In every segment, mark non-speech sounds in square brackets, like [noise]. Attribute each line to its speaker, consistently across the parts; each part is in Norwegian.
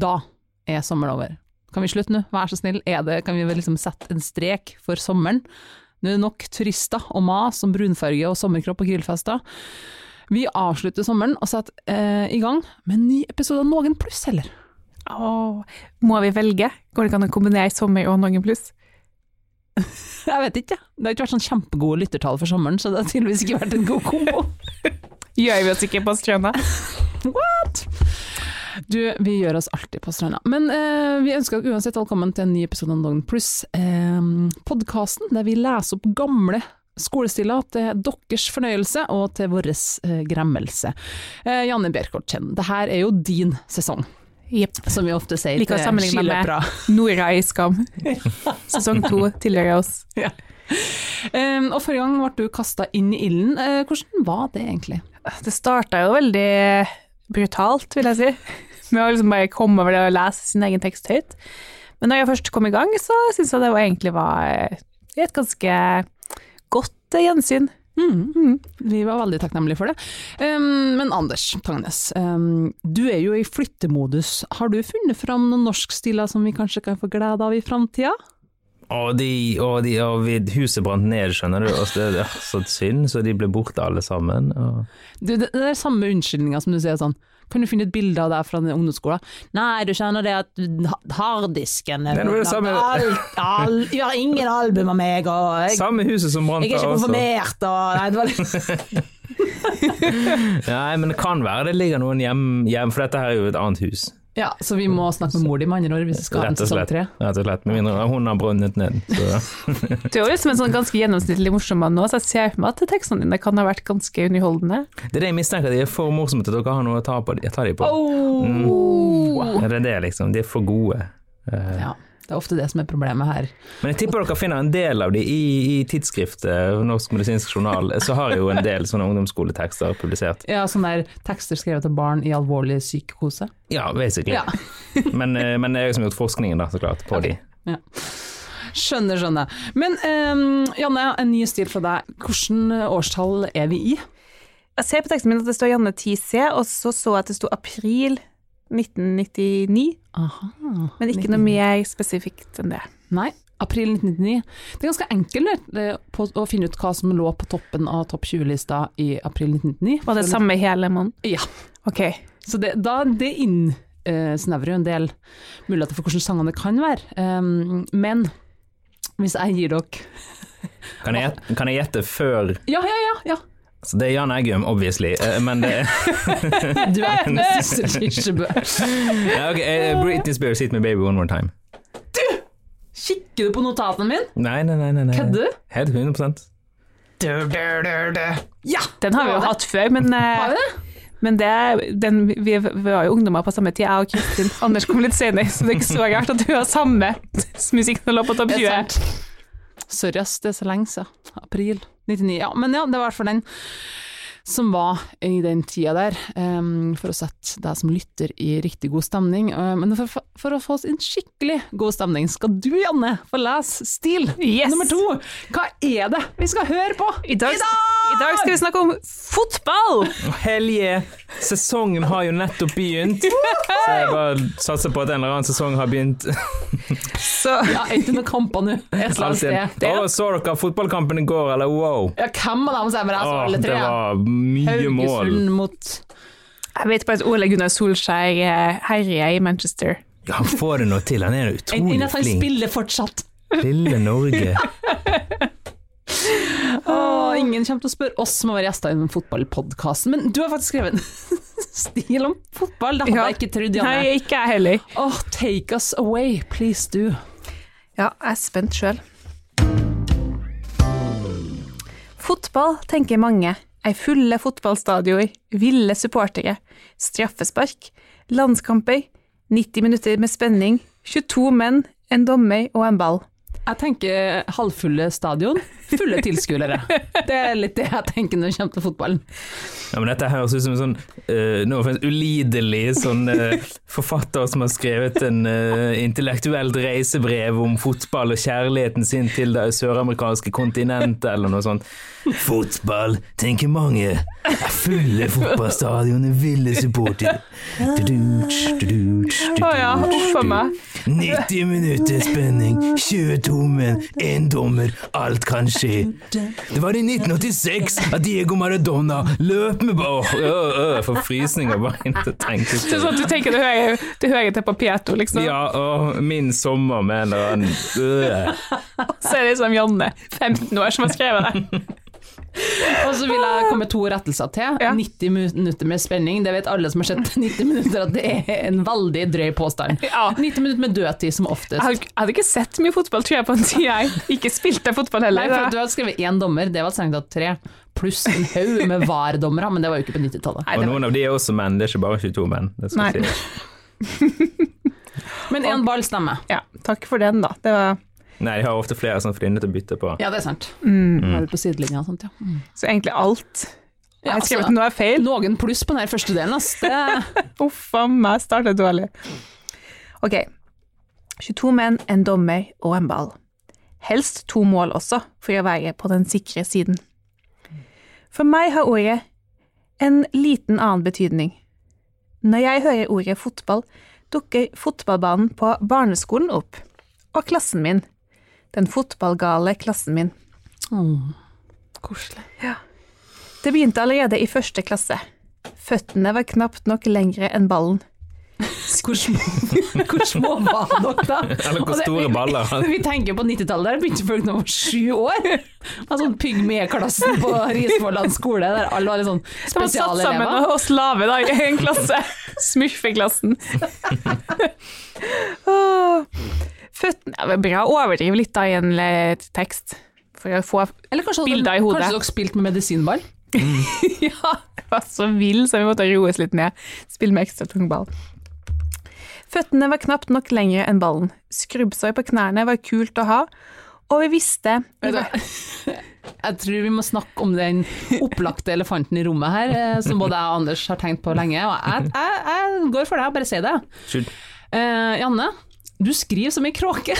Speaker 1: Da er sommeren over. Kan vi slutte nå, vær så snill? Er det, kan vi vel liksom sette en strek for sommeren? Nå er det nok turister og mas om brunfarge og sommerkropp og grillfester. Vi avslutter sommeren og setter eh, i gang med en ny episode av Noen pluss, heller.
Speaker 2: Åh, må vi velge? Går det ikke an å kombinere sommer og noen pluss?
Speaker 1: Jeg vet ikke, jeg. Det har ikke vært sånn kjempegode lyttertall for sommeren, så det har tydeligvis ikke vært en god kombo.
Speaker 2: Gjør vi oss ikke på strøna?
Speaker 1: What? Du, vi gjør oss alltid på stranda. Men eh, vi ønsker deg uansett velkommen til en ny episode av Dagen Pluss. Eh, Podkasten der vi leser opp gamle skolestiler til deres fornøyelse og til vår eh, gremmelse. Eh, Janne Bjerkholt Kjenn, det her er jo din sesong,
Speaker 2: Jepp.
Speaker 1: som vi ofte sier
Speaker 2: Liker å
Speaker 1: til
Speaker 2: sammenligne meg med-
Speaker 1: skiløpere.
Speaker 2: Nora i Skam. Sesong to tilhører oss.
Speaker 1: Eh, og forrige gang ble du kasta inn i ilden. Eh, hvordan var det egentlig?
Speaker 2: Det starta jo veldig brutalt, vil jeg si. Med å liksom bare komme over det og lese sin egen tekst høyt. Men når jeg først kom i gang, så syns jeg det var egentlig var eh, et ganske godt eh, gjensyn.
Speaker 1: Vi var veldig takknemlige for det. Um, men Anders Tangnes, um, du er jo i flyttemodus. Har du funnet fram noen norskstiler som vi kanskje kan få glede av i framtida?
Speaker 3: Og de, og de, og vi, huset brant ned, skjønner du. Og så, det, er så synd, så de ble borte alle sammen. Og...
Speaker 1: Du, det, det er samme unnskyldninga som du sier sånn. Kan du finne et bilde av deg fra den ungdomsskolen? Nei, du kjenner det at ha- harddisken
Speaker 3: Nei, det var det
Speaker 1: ødelagt.
Speaker 3: samme-
Speaker 1: alt, all, Vi har ingen album av meg, og jeg,
Speaker 3: Samme altså. huset som brant
Speaker 1: jeg er
Speaker 3: der
Speaker 1: ikke
Speaker 3: også.
Speaker 1: konfirmert, og Nei, det var litt
Speaker 3: [laughs] Nei, men det kan være det ligger noen hjem, hjem for dette her er jo et annet hus.
Speaker 1: Ja, så vi må snakke med mor di med andre ord hvis vi skal ha en
Speaker 3: Rett og
Speaker 1: sesong
Speaker 3: slett.
Speaker 1: tre.
Speaker 3: Rett og slett. Med mindre hun har brunnet ned. Så.
Speaker 2: Du er jo liksom en sånn ganske gjennomsnittlig morsom mann nå, så jeg ser for meg at tekstene dine kan ha vært ganske underholdende.
Speaker 3: Det er det jeg mistenker, de er for morsomme til at dere har noe å ta, på, ta dem på. Er det det, liksom? De er for gode. Eh,
Speaker 1: Ja, det er ofte det som er problemet her.
Speaker 3: Men jeg tipper dere finner en del av de i, i tidsskriftet Norsk medisinsk journal. Så har jeg jo en del sånne ungdomsskoletekster publisert.
Speaker 1: Ja, sånne der tekster skrevet av barn i alvorlig psykose.
Speaker 3: Ja, basically.
Speaker 1: Ja.
Speaker 3: men, eh, men det er jeg som har gjort forskningen, da, så klart, på de.
Speaker 1: Skjønner, skjønner. Men eh, Janne, en ny stil fra deg. Hvilken årstall er vi i?
Speaker 2: Jeg ser på teksten min at det står Janne 10C, og så så jeg at det sto april 1999,
Speaker 1: Aha.
Speaker 2: men ikke noe mer spesifikt enn det.
Speaker 1: Nei, april 1999. Det er ganske enkelt eh, på, å finne ut hva som lå på toppen av topp 20-lista i april 1999.
Speaker 2: Var det
Speaker 1: Så-
Speaker 2: samme hele måneden?
Speaker 1: Ja.
Speaker 2: Ok.
Speaker 1: Så det, da, det innsnevrer jo en del muligheter for hvordan sangene kan være. Eh, men hvis jeg gir dere
Speaker 3: Kan jeg, gjette- kan jeg gjette før
Speaker 1: Ja, ja, ja! ja.
Speaker 3: Så det er Jan Eggum, obviously, eh, men det
Speaker 1: Du er den [laughs] siste kirsebø.
Speaker 3: ja, ok, eh, Britney Spears hit med Baby One More Time.
Speaker 1: Kikker du på notatene mine?
Speaker 3: Nei, nei, nei. nei, nei.
Speaker 1: Kødder du?
Speaker 3: Helt 100
Speaker 1: Ja!
Speaker 2: Den har vi jo
Speaker 1: Var det?
Speaker 2: hatt før, men, eh,
Speaker 1: Har vi det?
Speaker 2: men det, den, vi, vi var jo ungdommer på samme tid, jeg og Kristin. Anders kom litt senere, så det er ikke så rart at du har samme musikk som lå på topp
Speaker 1: Det
Speaker 2: 20.
Speaker 1: er sant. Sorry, ass, det er så lenge siden. April 99. Ja, men ja, det var i hvert fall den som var i den tida der, em, for å sette deg som lytter i riktig god stemning. Eh, men for, for å få oss en skikkelig god stemning, skal du, Janne, få lese Stil
Speaker 2: Yes!
Speaker 1: nummer to. Hva er det vi skal høre på
Speaker 2: I dag, I dag skal vi snakke om fotball!
Speaker 3: Helje! Sesongen har jo nettopp
Speaker 1: [laughs]
Speaker 3: begynt, så jeg bare satser på at en eller annen sesong har begynt.
Speaker 2: Så
Speaker 1: Ja, er ikke noen kamper
Speaker 3: [laughs]
Speaker 1: nå. Et eller annet
Speaker 3: Alltid.
Speaker 1: sted.
Speaker 3: Å, så dere fotballkampen i går, eller wow?
Speaker 1: Ja, hvem av dem som er med deg, så
Speaker 3: Å,
Speaker 1: alle
Speaker 3: det
Speaker 1: tre?
Speaker 3: var mye mål.
Speaker 1: Haugesund mot
Speaker 2: jeg vet bare at Ole Gunnar Solskjær eh, herjer i Manchester.
Speaker 3: Ja, han får det nå til. Han er
Speaker 1: Enn
Speaker 3: utrolig
Speaker 1: at han
Speaker 3: flink.
Speaker 1: spiller fortsatt.
Speaker 3: Lille
Speaker 1: [laughs]
Speaker 3: Norge.
Speaker 1: Åh, ingen kommer til å spørre oss som har vært gjester i den fotballpodkasten, men du har faktisk skrevet en [laughs] stil om fotball. Det hadde
Speaker 2: Ja.
Speaker 1: jeg ikke trodd, Janne.
Speaker 2: Nei, ikke jeg heller.
Speaker 1: Åh, take us away, please do.
Speaker 2: Ja, jeg er spent sjøl. Fotball, tenker mange, er fulle fotballstadioner, ville supportere, straffespark, landskamper, 90 minutter med spenning, 22 menn, en dommer og en ball.
Speaker 1: Jeg tenker halvfulle stadion,
Speaker 2: [laughs]
Speaker 1: fulle tilskuere. Det er litt det jeg tenker når det kommer til fotballen.
Speaker 3: Ja, men dette høres ut som en sånn eh, noe for en ulidelig sånn, eh, forfatter som har skrevet en eh, intellektuelt reisebrev om fotball og kjærligheten sin til det søramerikanske kontinentet, eller noe sånt. Fotball, tenker mange. Er Fulle fotballstadioner, ville supportere. Du-dutsch, du-dutsch,
Speaker 2: Å ja,
Speaker 3: du-dutsch,
Speaker 2: huff a
Speaker 3: du.
Speaker 2: meg.
Speaker 3: 90 minutter spenning, 22 menn, én dommer, alt kan skje. Det var i 1986 at Diego Maradona løp med ball Åh, øh, øh, får frysninger bare ikke tenke
Speaker 2: Det er
Speaker 3: på.
Speaker 2: sånn at du tenker det hører, det hører til på Pietro, liksom.
Speaker 3: Ja, åh, min sommer med en eller annen øh.
Speaker 2: Så er det liksom Janne, 15 år, som har skrevet det.
Speaker 1: Og så vil jeg komme med to rettelser til.
Speaker 2: Ja.
Speaker 1: 90 minutter med spenning, det vet alle som har sett [laughs] 90 minutter at det er en veldig drøy påstand.
Speaker 2: Ja.
Speaker 1: 90 minutter med dødtid som
Speaker 2: Jeg
Speaker 1: oftest.
Speaker 2: hadde, jeg hadde ikke sett mye fotball, tror jeg, på en tid jeg ikke spilte fotball
Speaker 1: Nei,
Speaker 2: heller.
Speaker 1: for at du hadde skrevet én dommer, det var strengt tatt tre, pluss en haug med VAR-dommere, men det var jo ikke på 90-tallet.
Speaker 2: Nei,
Speaker 3: Og
Speaker 2: det-
Speaker 3: noen av de er også menn, det er ikke bare 22 menn. Det
Speaker 2: Nei.
Speaker 3: skal jeg si.
Speaker 1: Men én ball stemmer.
Speaker 2: Ja, takk for den, da. Det var,
Speaker 3: Nei, de har ofte flere sånn flinne til å bytte på.
Speaker 1: Ja, det er sant.
Speaker 2: mm.
Speaker 1: Var det på sidelinja og sånt, ja. Mm.
Speaker 2: Så egentlig alt. Jeg
Speaker 1: Ja,
Speaker 2: har skrevet
Speaker 1: altså,
Speaker 2: noe er feil.
Speaker 1: Noen pluss på den her første delen, ass. Det,
Speaker 2: Uff a meg, startet dårlig. Ok. 22 menn, en dommer og en ball. Helst to mål også, for å være på den sikre siden. For meg har ordet en liten annen betydning. Når jeg hører ordet fotball, dukker fotballbanen på barneskolen opp. Og klassen min. Den fotballgale klassen min.
Speaker 1: Åh, koselig.
Speaker 2: Det begynte allerede i første klasse. Føttene var knapt nok lengre enn ballen.
Speaker 1: Hvor små, hvor små var dere da?
Speaker 3: [laughs] Eller
Speaker 1: Og
Speaker 3: hvor
Speaker 1: det-
Speaker 3: store baller.
Speaker 1: Vi tenker på 90-tallet, der begynte folk når de var sju år. Av sånn pygmeklassen på Risvollan skole, der alle var litt sånn
Speaker 2: De var satt sammen
Speaker 1: spesialelever.
Speaker 2: og- og slave da, i en klasse. [laughs] Smurfeklassen. [laughs] Åh. Føttene det var Bra å overdrive litt da i en eh, tekst, for å få
Speaker 1: Eller kanskje, hadde-
Speaker 2: bilder i hodet.
Speaker 1: kanskje dere spilte med medisinball?
Speaker 2: [laughs] Ja, det var så vill, så vi måtte roes litt ned. Spille med ekstra tung ball. Føttene var knapt nok lengre enn ballen. Skrubbsår på knærne var kult å ha, og vi visste
Speaker 1: Vet du hva? Jeg tror vi må snakke om den opplagte elefanten i rommet her, eh, som både jeg og Anders har tenkt på lenge. Og jeg, jeg, jeg går for det, jeg bare sier det.
Speaker 3: Skyld.
Speaker 1: Eh, Janne, du skriver som ei kråke.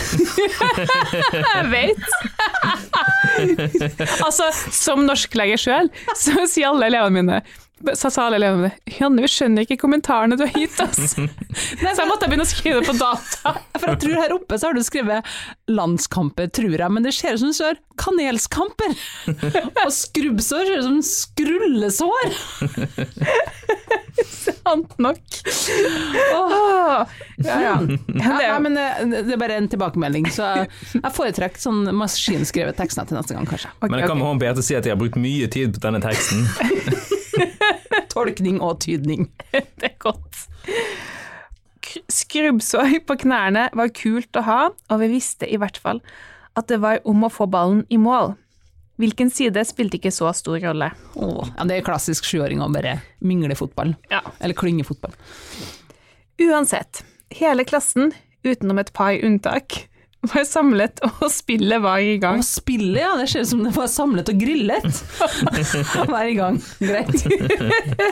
Speaker 1: [laughs]
Speaker 2: Jeg vet! [laughs] altså, som norsklege sjøl, så sier alle elevene mine så sa alle elevene mine Janne, vi skjønner ikke kommentarene du har gitt oss. [laughs] så jeg måtte begynne å skrive det på data.
Speaker 1: For jeg tror her oppe så har du skrevet landskamper, tror jeg, men det ser ut som du står kanelskamper. [laughs] Og skrubbsår ser ut som skrullesår.
Speaker 2: Sant nok. Åh. Ja, ja.
Speaker 1: Ja,
Speaker 2: det er-
Speaker 1: nei, men eh, det, det er bare en tilbakemelding, så jeg, jeg foretrekker sånn maskinskrevet tekster til neste gang, kanskje.
Speaker 2: Ok,
Speaker 3: Men jeg kan
Speaker 2: ok.
Speaker 3: med hånden på hjertet si at jeg har brukt mye tid på denne teksten.
Speaker 1: Tolkning og tydning.
Speaker 2: Det er godt. K- Skrubbsår på knærne var kult å ha, og vi visste i hvert fall at det var om å få ballen i mål. Hvilken side spilte ikke så stor rolle.
Speaker 1: Åh, ja, det er klassisk sjuåring å bare mingle fotball.
Speaker 2: Ja.
Speaker 1: Eller klyngefotball.
Speaker 2: Uansett, hele klassen, utenom et par unntak, var samlet og spillet var i gang.
Speaker 1: Og spillet, ja. Det ser ut som det var samlet og
Speaker 2: [laughs]
Speaker 1: grillet. Hver gang. Greit.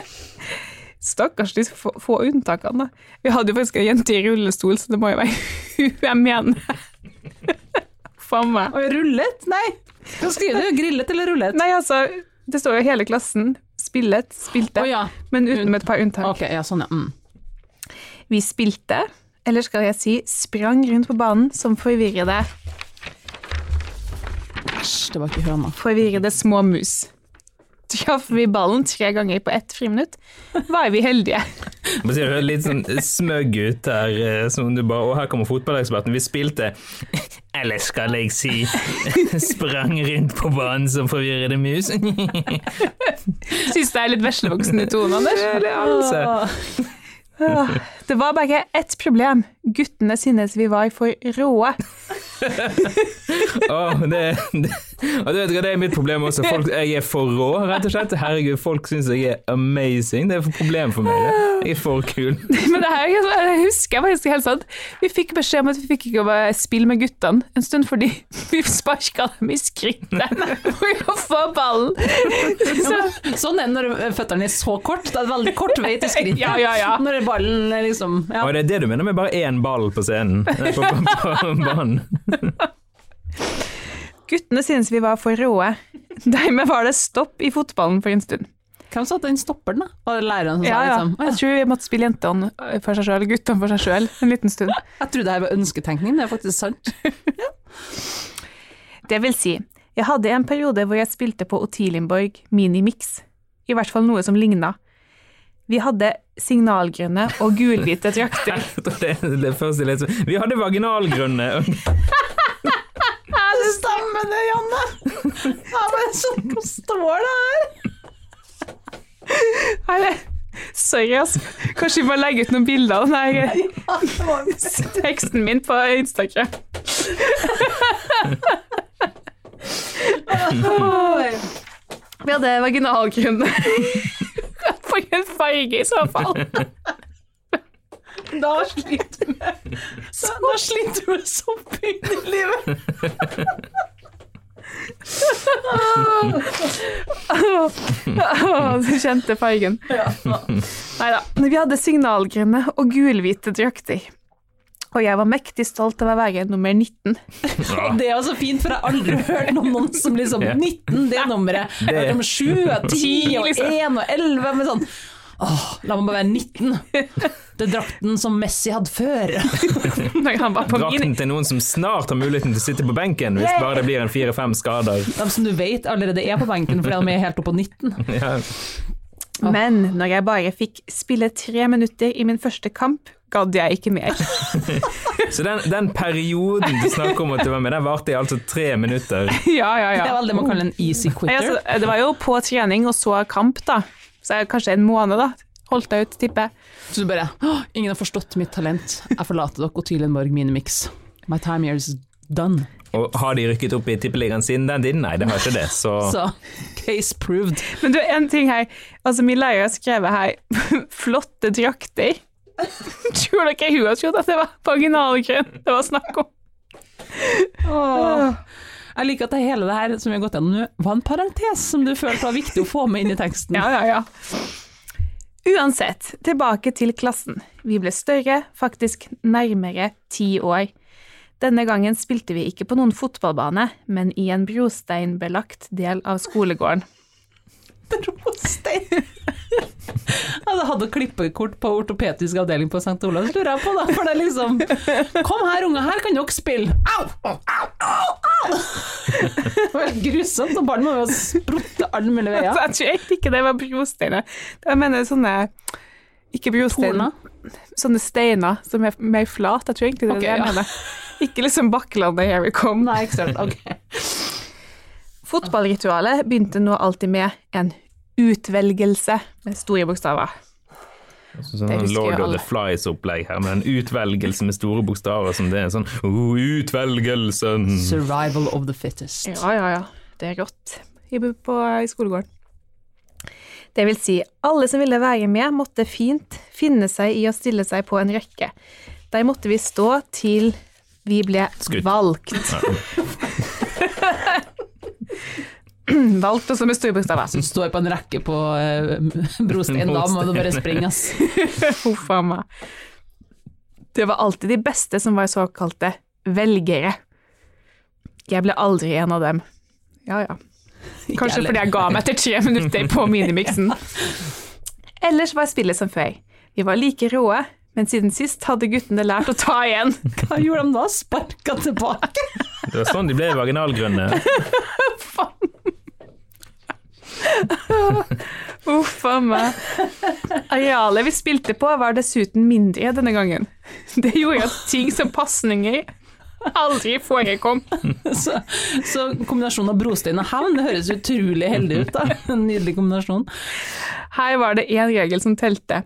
Speaker 2: Stakkars de få, få unntakene. da. Vi hadde jo faktisk ei jente i rullestol, så det må jo være [laughs] hun jeg mener. [laughs] Faen meg.
Speaker 1: Og rullet? Nei. Hva skriver du? Grillet eller rullet?
Speaker 2: Nei, altså, det står jo hele klassen spillet, spilte,
Speaker 1: Å ja.
Speaker 2: men utenom et par unntak.
Speaker 1: Ok, ja, sånn ja. Mm.
Speaker 2: Vi spilte, eller skal jeg si sprang rundt på banen som forvirrede,
Speaker 1: Æsj, det var ikke høna.
Speaker 2: forvirrede små mus. Traff vi ballen tre ganger på ett friminutt, var vi heldige.
Speaker 3: Bare sier du høres litt sånn smøgg ut her, eh, som du bare Og her kommer fotballeksperten. Vi spilte [laughs] Eller skal jeg si [laughs] Sprang rundt på banen som forvirrede mus. [laughs]
Speaker 2: Syns det er litt veslevoksen i tonen, Anders.
Speaker 3: altså.
Speaker 2: Åh, Det var bare ett problem. Guttene synes vi var for råe.
Speaker 3: Åh, det, det Og du vet hva, Det er mitt problem også. Folk, jeg er for rå, rett og slett. Herregud, folk syns jeg er amazing. Det er et problem for meg. Det. Jeg er for kul.
Speaker 2: Men det her, jeg husker faktisk helt sant. Vi fikk beskjed om at vi fikk ikke å spille med guttene en stund fordi [laughs] vi sparka dem i skrittet for å få ballen. Så,
Speaker 1: Sånn er det når føttene er så kort. Det er veldig kort vei til skrittet.
Speaker 2: [laughs] Ja, ja, ja.
Speaker 1: Når ballen er liksom ja.
Speaker 3: Og det er det du mener med bare én ball på scenen? Nei, På, på, på banen.
Speaker 2: guttene syntes vi var for råe. Dermed var det stopp i fotballen for en stund.
Speaker 1: Hvem sa at den stopper den, da? Var det læreren som
Speaker 2: Ja,
Speaker 1: sa
Speaker 2: ja.
Speaker 1: liksom
Speaker 2: Jeg
Speaker 1: «Å, ja.
Speaker 2: tror vi måtte spille jentene for seg sjøl, guttene for seg sjøl, en liten stund.
Speaker 1: Jeg trodde det her var ønsketenkning, det er faktisk sant.
Speaker 2: Det vil si, jeg hadde en periode hvor jeg spilte på Otilimborg Minimix. I hvert fall noe som ligna. Vi hadde signalgrønne og gulhvite [laughs] drakter.
Speaker 3: Det, det første jeg leste. Vi hadde vaginalgrønne.
Speaker 1: det stemmer det, Janne! Ja, men sånn, Hva står det her?
Speaker 2: Nei, det- Sorry, altså. Kanskje vi må legge ut noen bilder av denne teksten min på Instagram. [laughs] Vi hadde vaginalgrunn. [laughs] For en farge, i så fall.
Speaker 1: Da sliter du med Da sliter du med sopping i livet. [laughs]
Speaker 2: Åh, Du kjente fargen. Nei da. Vi hadde signalgrønne og gulhvite drakter. Og jeg var mektig stolt av å være nummer 19.
Speaker 3: Ja.
Speaker 1: Det er altså fint, for jeg har aldri hørt om noen som liksom
Speaker 3: Ja.
Speaker 1: 19, det nummeret. Jeg har hørt om 7 og 10 og
Speaker 2: Liksom.
Speaker 1: 1 og 11, men sånn Åh, la meg bare være 19. Det er drakten som Messi hadde før.
Speaker 2: [laughs] Når han var på min
Speaker 3: Drakten til noen som snart har muligheten til å sitte på benken, hvis bare det blir en fire-fem skader.
Speaker 2: [laughs]
Speaker 1: De som du vet allerede er på benken fordi de er helt oppe på 19.
Speaker 3: Ja.
Speaker 2: Men når jeg bare fikk spille tre minutter i min første kamp, gadd jeg ikke
Speaker 1: [laughs]
Speaker 2: mer. [laughs]
Speaker 3: Så den, den perioden du snakker om at du var med, den varte i altså tre minutter.
Speaker 2: Ja, ja, ja.
Speaker 1: Det er vel det man kaller en easy
Speaker 2: Nei,
Speaker 1: quitter.
Speaker 2: altså, det var jo på trening og så kamp, da. Så jeg, kanskje en måned, da. Holdt jeg ut, tipper jeg.
Speaker 1: Så du bare «Åh, Ingen har forstått mitt talent. Jeg forlater dere og Tylenborg Minimix. My time here is done.
Speaker 3: Og har de rykket opp i tippeligaen siden den tiden? Nei, det har ikke det. Så
Speaker 1: Så case proved.
Speaker 2: Men du, en ting her. Altså, min lærer har skrevet her [laughs] 'flotte drakter'. [laughs] Tror dere hun har trodd at det var vaginalgrønn det var snakk om?
Speaker 1: Jeg liker at det hele det her som vi har gått gjennom nå, var en parentes som du følte var viktig å få med inn i teksten.
Speaker 2: [laughs]
Speaker 1: [laughs]
Speaker 2: Ja, ja, ja. Uansett, tilbake til klassen. Vi ble større, faktisk nærmere ti år. Denne gangen spilte vi ikke på noen fotballbane, men i en brosteinbelagt del av skolegården.
Speaker 1: Brostein. [laughs] Jeg hadde klippekort på ortopedisk avdeling på St. Olavs, lurer jeg på, da. For det er liksom Kom her, unger, her kan dere spille. Au! Au! Au! Au! [laughs] Det var helt grusomt, og barn må jo sprutte alle mulige
Speaker 2: Så
Speaker 1: veier.
Speaker 2: [laughs] jeg tror egentlig ikke det var brosteiner. Jeg mener sånne Ikke brosteiner.
Speaker 1: Torna.
Speaker 2: Sånne steiner som er mer flat. Jeg tror egentlig det er
Speaker 1: Ok,
Speaker 2: det jeg
Speaker 1: ja.
Speaker 2: mener. Ikke liksom Bakklandet here we come.
Speaker 1: Nei, ikke sant. Ok.
Speaker 2: [laughs] Fotballritualet begynte nå alltid med en utvelgelse med store bokstaver. Det
Speaker 3: sånn
Speaker 2: husker
Speaker 3: Lord
Speaker 2: jo
Speaker 3: of
Speaker 2: alle.
Speaker 3: the Flies-opplegg her, med en utvelgelse med store bokstaver som det er sånn oh, Utvelgelsen!
Speaker 1: Mm. Survival of the fittest.
Speaker 2: Ja, ja, ja. Det er rått i, bu- på, i skolegården. Det vil si, alle som ville være med, måtte fint finne seg i å stille seg på en rekke. Der måtte vi stå til vi ble
Speaker 3: Skutt.
Speaker 2: valgt. [clears throat] valgt også med store bokstaver.
Speaker 1: Du står på en rekke på eh, brostein, da må du bare springe, ass.
Speaker 2: [laughs] Huff a meg. Det var alltid de beste som var såkalte velgere. Jeg ble aldri en av dem. Ja, ja. Kanskje
Speaker 1: heller.
Speaker 2: fordi jeg ga meg etter [laughs] tre minutter på minimiksen. Ellers var spillet som før. Vi var like råe, men siden sist hadde guttene lært å ta [laughs] igjen.
Speaker 1: Hva gjorde de da? Sparka tilbake?
Speaker 3: Det var sånn de ble
Speaker 2: [laughs]
Speaker 3: vaginalgrønne.
Speaker 2: Uff a meg. Arealet vi spilte på, var dessuten mindre denne gangen. Det gjorde at ting som pasninger aldri forekom.
Speaker 1: Så, [laughs] så kombinasjonen av brostein og hevn, det høres utrolig heldig ut, da. En nydelig kombinasjon.
Speaker 2: Her var det én regel som telte.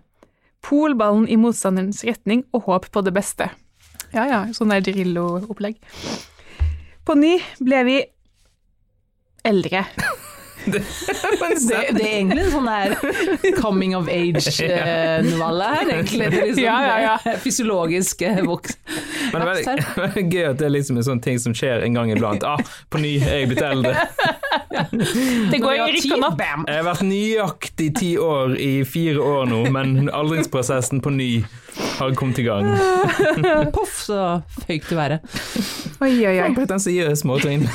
Speaker 2: Pol ballen i motstanderens retning og håp på det beste. Ja ja, sånn der Drillo-opplegg. På ny ble vi eldre.
Speaker 1: Det, det er egentlig en sånn der coming of
Speaker 2: [laughs]
Speaker 1: age-novelle her, egentlig. Det er liksom
Speaker 2: Ja, ja, ja.
Speaker 1: det Fysiologisk eh, voks.
Speaker 3: Men det er veldig, veldig gøy at [laughs] det er liksom en sånn ting som skjer en gang iblant. Ah, på ny er jeg blitt eldre.
Speaker 2: Det går i rykk og napp.
Speaker 1: bam!
Speaker 3: Jeg har vært nøyaktig ti år i fire år nå, men aldringsprosessen på ny har kommet i gang.
Speaker 1: Poff, så føyk du været.
Speaker 2: Oi, oi, oi.
Speaker 3: Pretensiøs måltrin.
Speaker 2: [laughs]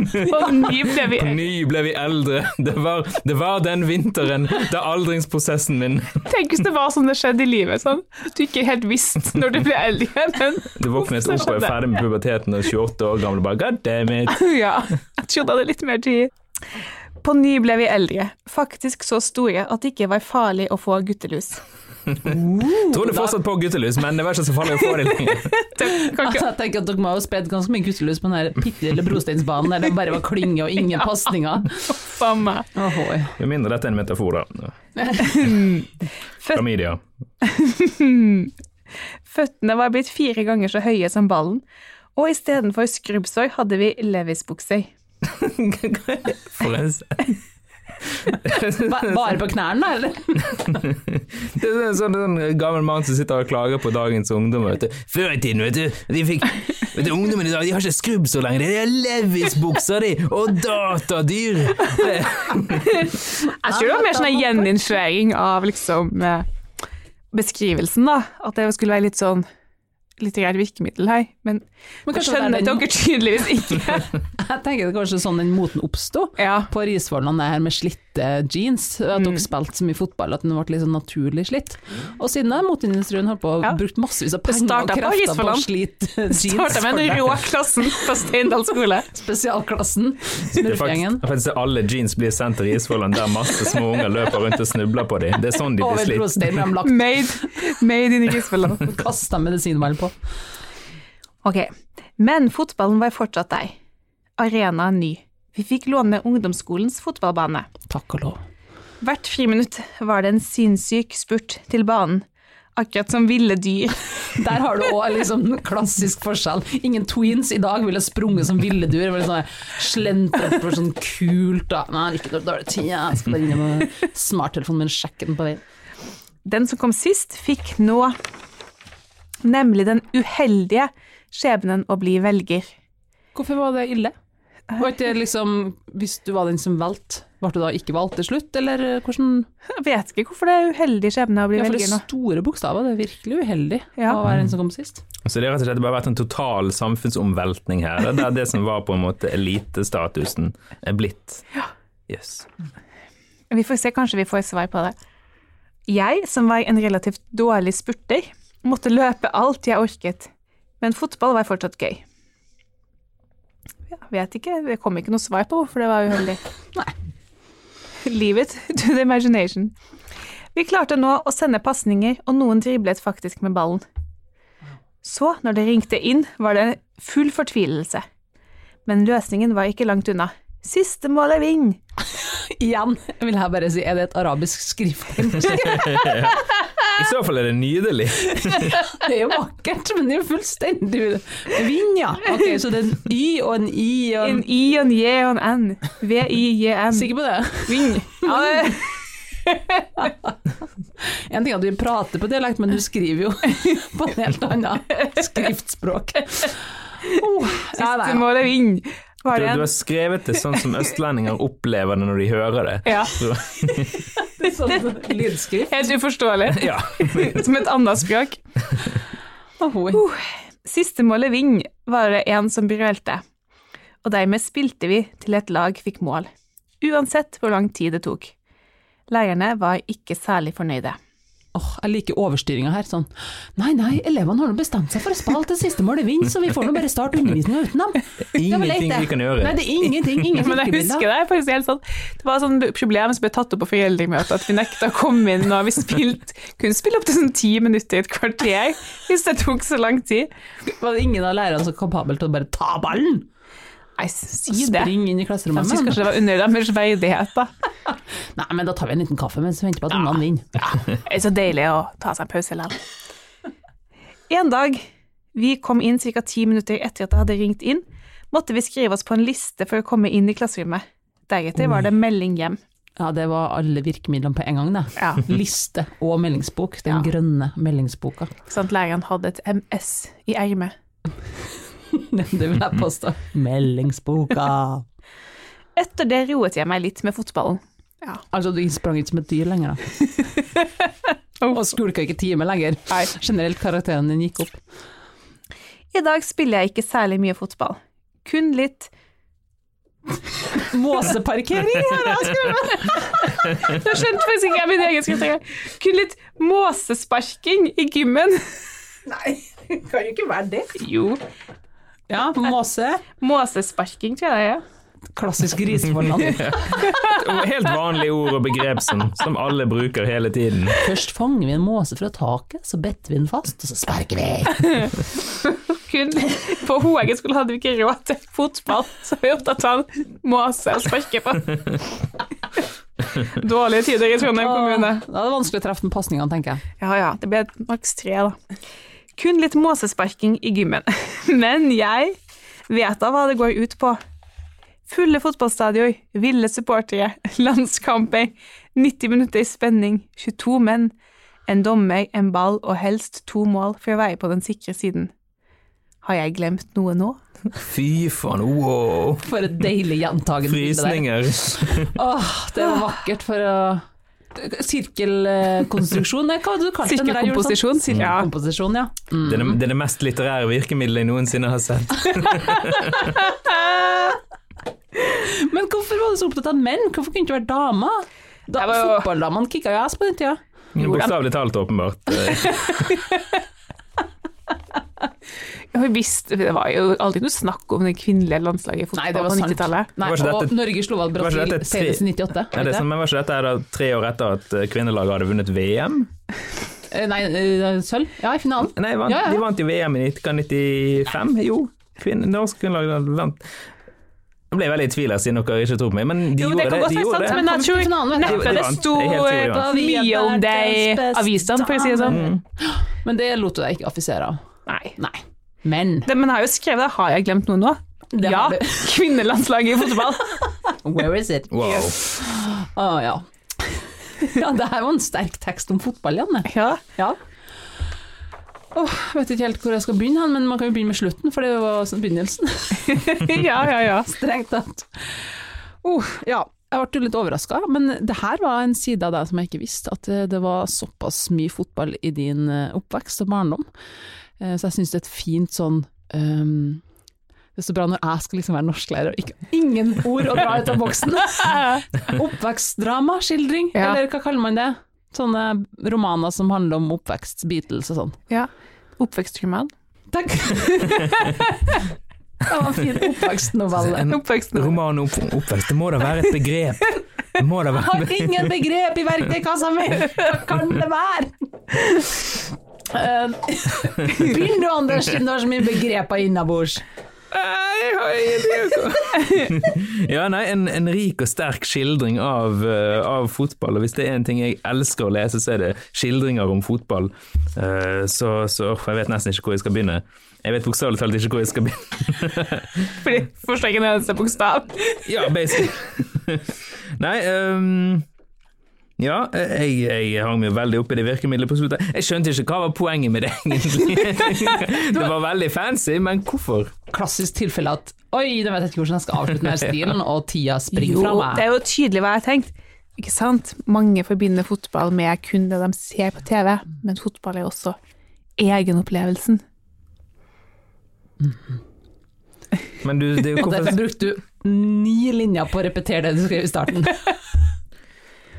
Speaker 2: På ny ble vi
Speaker 3: På ny ble vi eldre. Det var, det var den vinteren da aldringsprosessen min
Speaker 2: Tenk hvis det var sånn det skjedde i livet, sånn. At du ikke helt visste når du ble eldre, men
Speaker 3: Du våknet opp og er ferdig med puberteten og 28 år gammel og bare God damn it.
Speaker 2: [laughs] ja, jeg trodde jeg hadde litt mer tid. På ny ble vi eldre, faktisk så store at det ikke var farlig å få guttelus.
Speaker 3: Trodde fortsatt på guttelys, men det var ikke så farlig å få det lenger.
Speaker 2: Det kan
Speaker 1: Altså,
Speaker 2: ikke
Speaker 1: jeg tenker at Dere må ha spredt ganske mye guttelus på den her bitte lille brosteinsbanen der det bare var klynge og ingen pasninger.
Speaker 2: hoffa meg.
Speaker 1: Ahoy.
Speaker 3: Med mindre dette er en metafor, da. Klamydia.
Speaker 2: Føttene var blitt fire ganger så høye som ballen, og istedenfor skrubbsår hadde vi Levis-bukser.
Speaker 3: [laughs] For en s-
Speaker 1: Ba- Bare på knærne, da, eller?
Speaker 3: Det er en sånn, sånn gammel mann som sitter og klager på dagens ungdom. Vet du. Før i tiden, vet du, de fikk vet du, Ungdommen i dag de har ikke skrubb så lenge. De har Levis-bukser, de! Og datadyr! Det-
Speaker 2: Jeg tror det var mer sånn en gjeninnføring av liksom eh, beskrivelsen, da. At det skulle være litt sånn litt greit virkemiddel her, men,
Speaker 1: Men kanskje det
Speaker 2: det
Speaker 1: er
Speaker 2: skjønner
Speaker 1: den-
Speaker 2: dere tydeligvis [laughs] ikke.
Speaker 1: Jeg tenker det er kanskje sånn den moten oppsto.
Speaker 2: Ja.
Speaker 1: På Risvollan er her med slitte jeans, at dere spilte så mye fotball at den ble litt sånn naturlig slitt. Og siden da har moteindustrien holdt på og
Speaker 2: Ja.
Speaker 1: brukt massevis av penger og
Speaker 2: startet på
Speaker 1: krefter på,
Speaker 2: Risvollan.
Speaker 1: å slite jeans
Speaker 2: Starta med den rå klassen på Steindal skole.
Speaker 1: spesialklassen,
Speaker 3: Det er faktisk,
Speaker 1: smurfgjengen.
Speaker 3: faktisk alle jeans blir sendt til Risvollan, der masse små unger løper rundt og snubler på dem. Det er sånn de blir
Speaker 1: Over
Speaker 3: slitt.
Speaker 1: brostein ble de lagt
Speaker 2: Made, made in Risvollan.
Speaker 1: og kasta medisinball på.
Speaker 2: [laughs] Ok, men fotballen var fortsatt der. Arena ny. Vi fikk låne ungdomsskolens fotballbane.
Speaker 1: Takk og lov.
Speaker 2: Hvert friminutt var det en sinnssyk spurt til banen. Akkurat som ville dyr.
Speaker 1: Der har du òg liksom en klassisk forskjell. Ingen twins i dag ville sprunget som ville dyr. Ville sånn slentret på sånn kult da. Nei, ikke dårlig- dårlig tid, jeg skal bare innom med smarttelefonen min, sjekke den på veien.
Speaker 2: Den som kom sist, fikk nå nemlig den uheldige skjebnen å bli velger.
Speaker 1: Hvorfor var det ille? Var ikke det liksom, hvis du var den som valgte, ble du da ikke valgt til slutt, eller eh, hvordan
Speaker 2: Jeg vet ikke hvorfor det er uheldig skjebne å bli
Speaker 1: Ja, for det
Speaker 2: velger
Speaker 1: er
Speaker 2: nå.
Speaker 1: store bokstaver, det er virkelig uheldig
Speaker 2: Ja.
Speaker 1: å være den som kom sist.
Speaker 3: Så det har rett og slett bare vært en total samfunnsomveltning her. Det er det som var på en måte elitestatusen er blitt. Yes.
Speaker 2: Vi får se, kanskje vi får svar på det. Jeg, som var en relativt dårlig spurter, måtte løpe alt jeg orket. Men fotball var fortsatt gøy. Ja, vet ikke, det kom ikke noe svar på hvorfor det var uheldig.
Speaker 1: Nei.
Speaker 2: Leave it to the imagination. Vi klarte nå å sende pasninger, og noen driblet faktisk med ballen. Så, når det ringte inn, var det full fortvilelse. Men løsningen var ikke langt unna. Siste mål er vinn!
Speaker 1: [laughs] Igjen vil jeg bare si, er det et arabisk skrifttegn?
Speaker 3: I så fall er det nydelig.
Speaker 1: [laughs] Det er jo vakkert, men det er jo fullstendig Vinn, ja. Ok, så det er en Y og en I og en
Speaker 2: En I og en J og en N. V-I-J-N.
Speaker 1: Sikker på det?
Speaker 2: Ving. Ja, det-
Speaker 1: En ting er at vi prater på dialekt, men du skriver jo [laughs] på en helt annen skriftspråk. [laughs] Oh, ja,
Speaker 2: Siste
Speaker 1: nei,
Speaker 2: mål er vinn. Var
Speaker 3: Du,
Speaker 2: det
Speaker 3: du
Speaker 2: en?
Speaker 3: har skrevet det sånn som østlendinger opplever det når de hører det.
Speaker 2: Ja.
Speaker 1: ja. Sånn lydskrift.
Speaker 2: Helt uforståelig.
Speaker 3: [laughs] Ja.
Speaker 2: [laughs] Som et annet språk.
Speaker 1: Ahoy.
Speaker 2: Siste mål er vinn, var det en som brølte. Og dermed spilte vi til et lag fikk mål. Uansett hvor lang tid det tok. Lærerne var ikke særlig fornøyde.
Speaker 1: Åh, jeg liker overstyringa her. Sånn Nei, nei, elevene har nå bestemt seg for å spille til siste målet vinner, så vi får nå bare starte undervisninga uten dem. Det er vel leit,
Speaker 3: Ingenting
Speaker 1: det.
Speaker 3: vi kan
Speaker 1: Nei,
Speaker 3: gjøre.
Speaker 1: det er ingenting. Ingen
Speaker 2: [laughs] Men jeg husker
Speaker 1: virkemidler.
Speaker 2: det. faktisk helt sånn. Det var et problem som ble tatt opp på foreldremøtet, at vi nekta å komme inn når vi spilte. Kunne spille opptil sånn ti minutter i et kvarter, hvis det tok så lang tid.
Speaker 1: Var det ingen av lærerne som var kapabel til å bare ta ballen?
Speaker 2: Nei, si det.
Speaker 1: Spring inn i
Speaker 2: Jeg
Speaker 1: klasserommet
Speaker 2: syns
Speaker 1: med
Speaker 2: kanskje
Speaker 1: den?
Speaker 2: det var under deres verdighet, da.
Speaker 1: Nei, men da tar vi en liten kaffe mens vi venter på at ungene vinner.
Speaker 2: Det er så deilig å ta seg en pause likevel. En dag vi kom inn ca. ti minutter etter at det hadde ringt inn, måtte vi skrive oss på en liste for å komme inn i klasserommet. lette, egentlig, var det melding hjem.
Speaker 1: Ja, det var alle virkemidlene på en gang, det.
Speaker 2: Ja.
Speaker 1: Liste og meldingsbok. Den
Speaker 2: Ja.
Speaker 1: grønne meldingsboka. [laughs]
Speaker 2: Ikke sant, legen hadde et MS i ermet.
Speaker 1: Det vil jeg påstå. Meldingsboka.
Speaker 2: Etter det roet jeg meg litt med fotballen. Ja.
Speaker 1: Altså, du sprang ikke som et dyr lenger, da.
Speaker 2: [laughs]
Speaker 1: Og skulka ikke time lenger.
Speaker 2: Oh. Nei.
Speaker 1: Generelt, karakteren din gikk opp.
Speaker 2: I dag spiller jeg ikke særlig mye fotball. Kun litt
Speaker 1: Måseparkering!
Speaker 2: Ja, det er skummelt. Jeg skjønte faktisk ikke min egen skrift engang. Kun litt måsesparking i gymmen. Nei, kan jo ikke være det. Jo.
Speaker 1: Ja, måse.
Speaker 2: Måsesparking, tror jeg det er.
Speaker 1: Klassisk grisefornavn.
Speaker 3: Helt vanlige ord og begrep som, som alle bruker hele tiden.
Speaker 1: Først fanger vi en måse fra taket, så better vi den fast, og så sparker vi.
Speaker 2: Kun på Hoagen skole hadde vi ikke råd til fotball, så vi måtte ta en måse og sparke [laughs] på. Dårlige tider i Trondheim kommune.
Speaker 1: Da er det vanskelig å treffe med pasningene, tenker jeg.
Speaker 2: Ja ja, det ble maks tre, da. Kun litt måsesparking i gymmen. [laughs] Men jeg vet da hva det går ut på. Fulle fotballstadioner, ville supportere, [laughs] landskamper, 90 minutter i spenning, 22 menn, en dommer, en ball og helst to mål for å være på den sikre siden. Har jeg glemt noe nå?
Speaker 3: Fy faen, wow.
Speaker 1: For et deilig gjentagende bilde der.
Speaker 3: Frysninger.
Speaker 1: Åh, det var vakkert for å Sirkelkonstruksjon, nei, hva var det du kalte det når jeg gjorde sånn?
Speaker 2: Sirkelkomposisjon, sier ja.
Speaker 1: Komposisjon, ja.
Speaker 3: Det er det, det er det mest litterære virkemidlet jeg noensinne har sett.
Speaker 1: Men hvorfor var du så opptatt av menn? Hvorfor kunne det ikke vært damer? Da,
Speaker 2: Jeg var jo-
Speaker 1: Fotballdamene kicka jo ass på den tida.
Speaker 3: Bokstavelig talt, åpenbart. Eh,
Speaker 2: Jeg visste, det var jo aldri noe snakk om det kvinnelige landslaget i
Speaker 1: Nei, det
Speaker 2: fotball
Speaker 1: var
Speaker 2: på
Speaker 1: sant.
Speaker 2: 90-tallet.
Speaker 1: Nei,
Speaker 3: Var
Speaker 1: og
Speaker 3: ikke dette-
Speaker 1: Norge slo av
Speaker 3: ikke
Speaker 1: Brasil
Speaker 3: dette tre-
Speaker 1: senest i 98.
Speaker 3: Er det sånn, men var ikke dette her da tre år etter at eh, kvinnelaget hadde vunnet VM?
Speaker 1: Eh, Nei, eh, sølv? Ja, i finalen.
Speaker 3: Nei, vant,
Speaker 1: Ja, ja.
Speaker 3: de vant jo VM i 1995. Jo, kvinn, norsk kvinnelag vant. Nå ble jeg veldig i tvil her, siden dere ikke tror på meg, men de
Speaker 2: Jo, det kan
Speaker 3: gjorde det.
Speaker 2: godt
Speaker 3: De
Speaker 2: være sant,
Speaker 3: gjorde det.
Speaker 2: men jeg
Speaker 1: Kom til
Speaker 2: tror
Speaker 1: finalen, vet du.
Speaker 2: neppe
Speaker 3: De- de
Speaker 2: det
Speaker 3: vant.
Speaker 2: sto
Speaker 3: Jeg er helt sikker, de
Speaker 2: eh,
Speaker 3: vant.
Speaker 2: mye om det i avisene, for å si det sånn.
Speaker 1: Men det lot du deg ikke affisere av.
Speaker 2: Nei.
Speaker 1: Nei. Men
Speaker 2: Det, men jeg har jo skrevet det. Har jeg glemt noe nå?
Speaker 1: Det
Speaker 2: ja,
Speaker 1: har du.
Speaker 2: [laughs] kvinnelandslaget i fotball.
Speaker 1: Where is
Speaker 3: [laughs]
Speaker 1: it?
Speaker 3: Wow.
Speaker 1: Å ja. [laughs] ja. Det her var en sterk tekst om fotball, Janne.
Speaker 2: [laughs] ja.
Speaker 1: Ja. Åh, jeg vet ikke helt hvor jeg skal begynne, hen, men man kan jo begynne med slutten, for det var sånn begynnelsen. [laughs]
Speaker 2: ja, ja, ja.
Speaker 1: Strengt tatt. Oh,
Speaker 2: Uh,
Speaker 1: ja. Jeg ble jo litt overraska, men det her var en side av deg som jeg ikke visste, at eh, det var såpass mye fotball i din eh, oppvekst og barndom. Eh, Så jeg syns det er et fint sånn ehm, Det er så bra når jeg skal liksom være norsklærer og ikke, ingen ord å dra ut av boksen. Oppvekstdrama, skildring,
Speaker 2: Ja.
Speaker 1: eller hva kaller man det? Sånne romaner som handler om oppvekst, Beatles og sånn.
Speaker 2: ja. Oppvekstroman.
Speaker 1: Takk! [laughs] det var en fin oppvekstnovelle.
Speaker 3: En
Speaker 2: Oppvekstroman.
Speaker 3: roman om opp, oppvekst, det må da være et begrep. Det må da være
Speaker 1: Har ingen begrep i verktøykassa mi! Hva kan det være? Eh, Begynn du, Anders, siden du har så mye begreper innabords.
Speaker 3: [laughs] Ja, nei, en, en rik og sterk skildring av, eh, av fotball. Og hvis det er en ting jeg elsker å lese, så er det skildringer om fotball. Eh, så så uff, jeg vet nesten ikke hvor jeg skal begynne. Jeg vet bokstavelig talt ikke hvor jeg skal begynne.
Speaker 2: [laughs] Fordi forstår ikke en eneste bokstav.
Speaker 3: [laughs] Ja, basically. [laughs] nei, ehm, ja, eh, jeg, jeg hang meg veldig opp i det virkemidlet på slutten. Jeg skjønte ikke hva var poenget med det, egentlig. [laughs] det var veldig fancy, men hvorfor?
Speaker 1: Klassisk tilfelle at Oi, da vet jeg ikke hvordan jeg skal avslutte den her stilen, og tida springer
Speaker 2: Jo,
Speaker 1: fra
Speaker 2: det
Speaker 1: meg.
Speaker 2: er jo tydelig hva jeg har tenkt. Ikke sant? Mange forbinder fotball med kun det de ser på TV, men fotball er også egenopplevelsen.
Speaker 3: Men du, det er jo hvorfor
Speaker 1: Derfor brukte du ni linjer på å repetere det du skrev i
Speaker 2: [laughs]
Speaker 1: starten.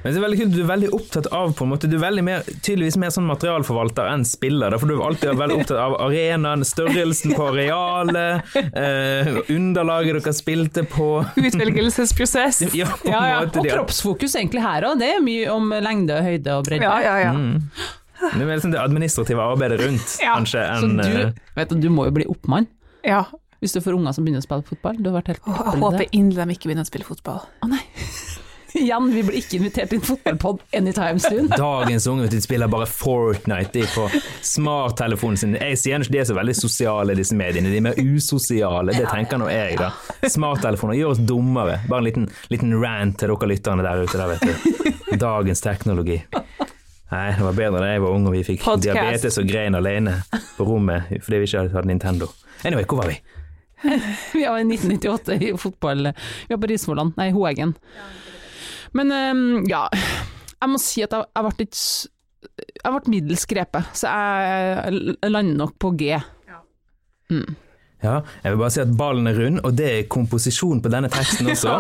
Speaker 3: Men det er veldig kult, Du er veldig opptatt av på en måte, du er veldig mer, tydeligvis mer sånn materialforvalter enn spiller. da, For du er alltid veldig opptatt av arenaen, størrelsen på arealet, eh, underlaget dere spilte på.
Speaker 2: Utvelgelsesprosess.
Speaker 3: [laughs] Ja, på en
Speaker 2: Ja, ja,
Speaker 3: måte.
Speaker 1: Og
Speaker 3: de-
Speaker 1: kroppsfokus egentlig her òg, det er mye om lengde og høyde og bredde.
Speaker 2: Ja, ja, ja.
Speaker 3: Det er mer sånn det administrative arbeidet rundt,
Speaker 2: Ja,
Speaker 3: kanskje,
Speaker 1: Så
Speaker 3: enn eh,
Speaker 1: du, vet du, du må jo bli oppmann
Speaker 2: ja.
Speaker 1: hvis du får unger som begynner å spille fotball. Du har vært helt
Speaker 2: Åh, Jeg
Speaker 1: eple i det.
Speaker 2: håper inderlig de ikke begynner å spille fotball.
Speaker 1: Å nei. Igjen, vi blir ikke invitert til en fotballpod anytime soon.
Speaker 3: Dagens unge vet du, de spiller bare Fortnite de på smarttelefonen sin. Jeg sier ikke de er så veldig sosiale, disse mediene. De er mer usosiale, det tenker nå jeg, da. Smarttelefoner gjør oss dummere. Bare en liten, liten rant til dere lytterne der ute, der, vet du. Dagens teknologi. Nei, det var bedre da jeg var ung og vi fikk
Speaker 2: Podcast.
Speaker 3: diabetes og grein alene på rommet fordi vi ikke hadde Nintendo. Anyway, hvor var vi?
Speaker 1: [laughs] Vi var i 1998 i fotball Vi var på Risvolland, nei, Hoeggen. Men ehm, ja, jeg må si at jeg, jeg ble litt s- Jeg ble middels grepet, så jeg l- lander nok på G. Mm.
Speaker 3: Ja, jeg vil bare si at ballen er rund, og det er komposisjon på denne teksten også.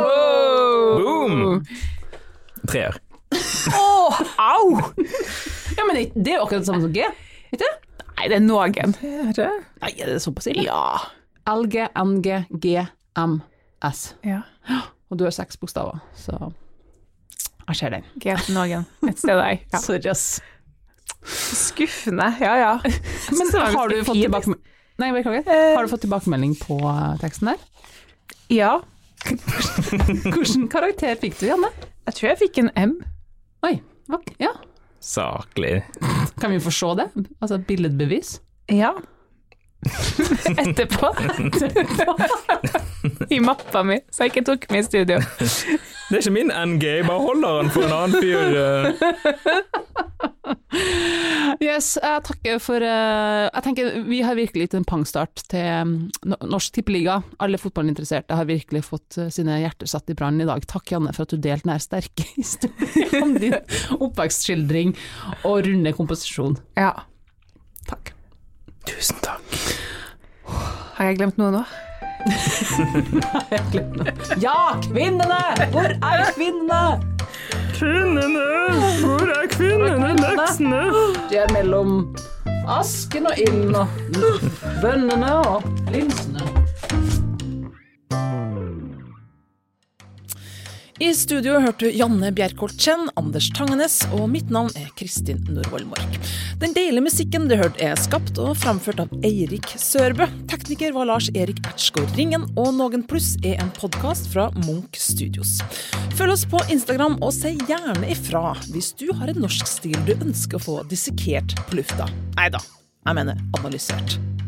Speaker 3: Boom! Treer.
Speaker 2: Åh, au!
Speaker 1: Ja, men det det er jo akkurat det samme som G.
Speaker 2: Nei, det er noen. Er det?
Speaker 1: Nei, er det såpass ille?
Speaker 2: Ja.
Speaker 1: LG, NG, G, M, S.
Speaker 2: ja.
Speaker 1: Og du har seks bokstaver, så jeg ser den.
Speaker 2: Grep noen. Et sted der. Ja.
Speaker 1: Sorry, ass.
Speaker 2: Skuffende. Ja, [laughs] ja.
Speaker 1: Men
Speaker 2: Så
Speaker 1: har du
Speaker 2: ganske
Speaker 1: fått
Speaker 2: fin
Speaker 1: tilbakemelding Nei, beklager.
Speaker 2: Eh.
Speaker 1: Har du fått tilbakemelding på eh, teksten
Speaker 2: [laughs]
Speaker 1: der?
Speaker 2: tekst. Ja.
Speaker 1: Hvilken karakter fikk du, Janne?
Speaker 2: Jeg tror jeg fikk en M.
Speaker 1: Oi, ok, ja.
Speaker 3: Saklig.
Speaker 1: Kan vi få se det? Altså et billedbevis?
Speaker 2: Ja. [laughs] Etterpå. [laughs] I mappa mi, så jeg ikke tok med i studio.
Speaker 3: Det er ikke min NG, jeg bare holder den for en annen fyr. eh.
Speaker 1: Yes, jeg takker for eh, Jeg tenker vi har virkelig gitt en pangstart til mm, no- Norsk Tippeliga. Alle fotballinteresserte har virkelig fått eh, sine hjerter satt i brann i dag. Takk, Janne, for at du delte den her sterke [laughs] historien om [laughs] din oppvekstskildring og runde komposisjon.
Speaker 2: Ja.
Speaker 1: Takk.
Speaker 3: Tusen takk.
Speaker 2: Har jeg glemt noe nå?
Speaker 1: Ja, kvinnene! Hvor er kvinnene?
Speaker 3: Kvinnene! Hvor er kvinnene? Leksene!
Speaker 1: De er mellom asken og ilden og bønnene og linsene.
Speaker 4: I studio hørte du Janne Bjerkholt Chen, Anders Tangenes, og mitt navn er Kristin Norvoll Mork. Den deilige musikken du hørte er skapt og framført av Eirik Sørbø. Tekniker var Lars Erik Ertsgaard Ringen, og Noen Pluss er en podkast fra Munch Studios. Følg oss på Instagram, og si gjerne ifra hvis du har en norsk stil du ønsker å få dissekert på lufta. Nei da, jeg mener analysert.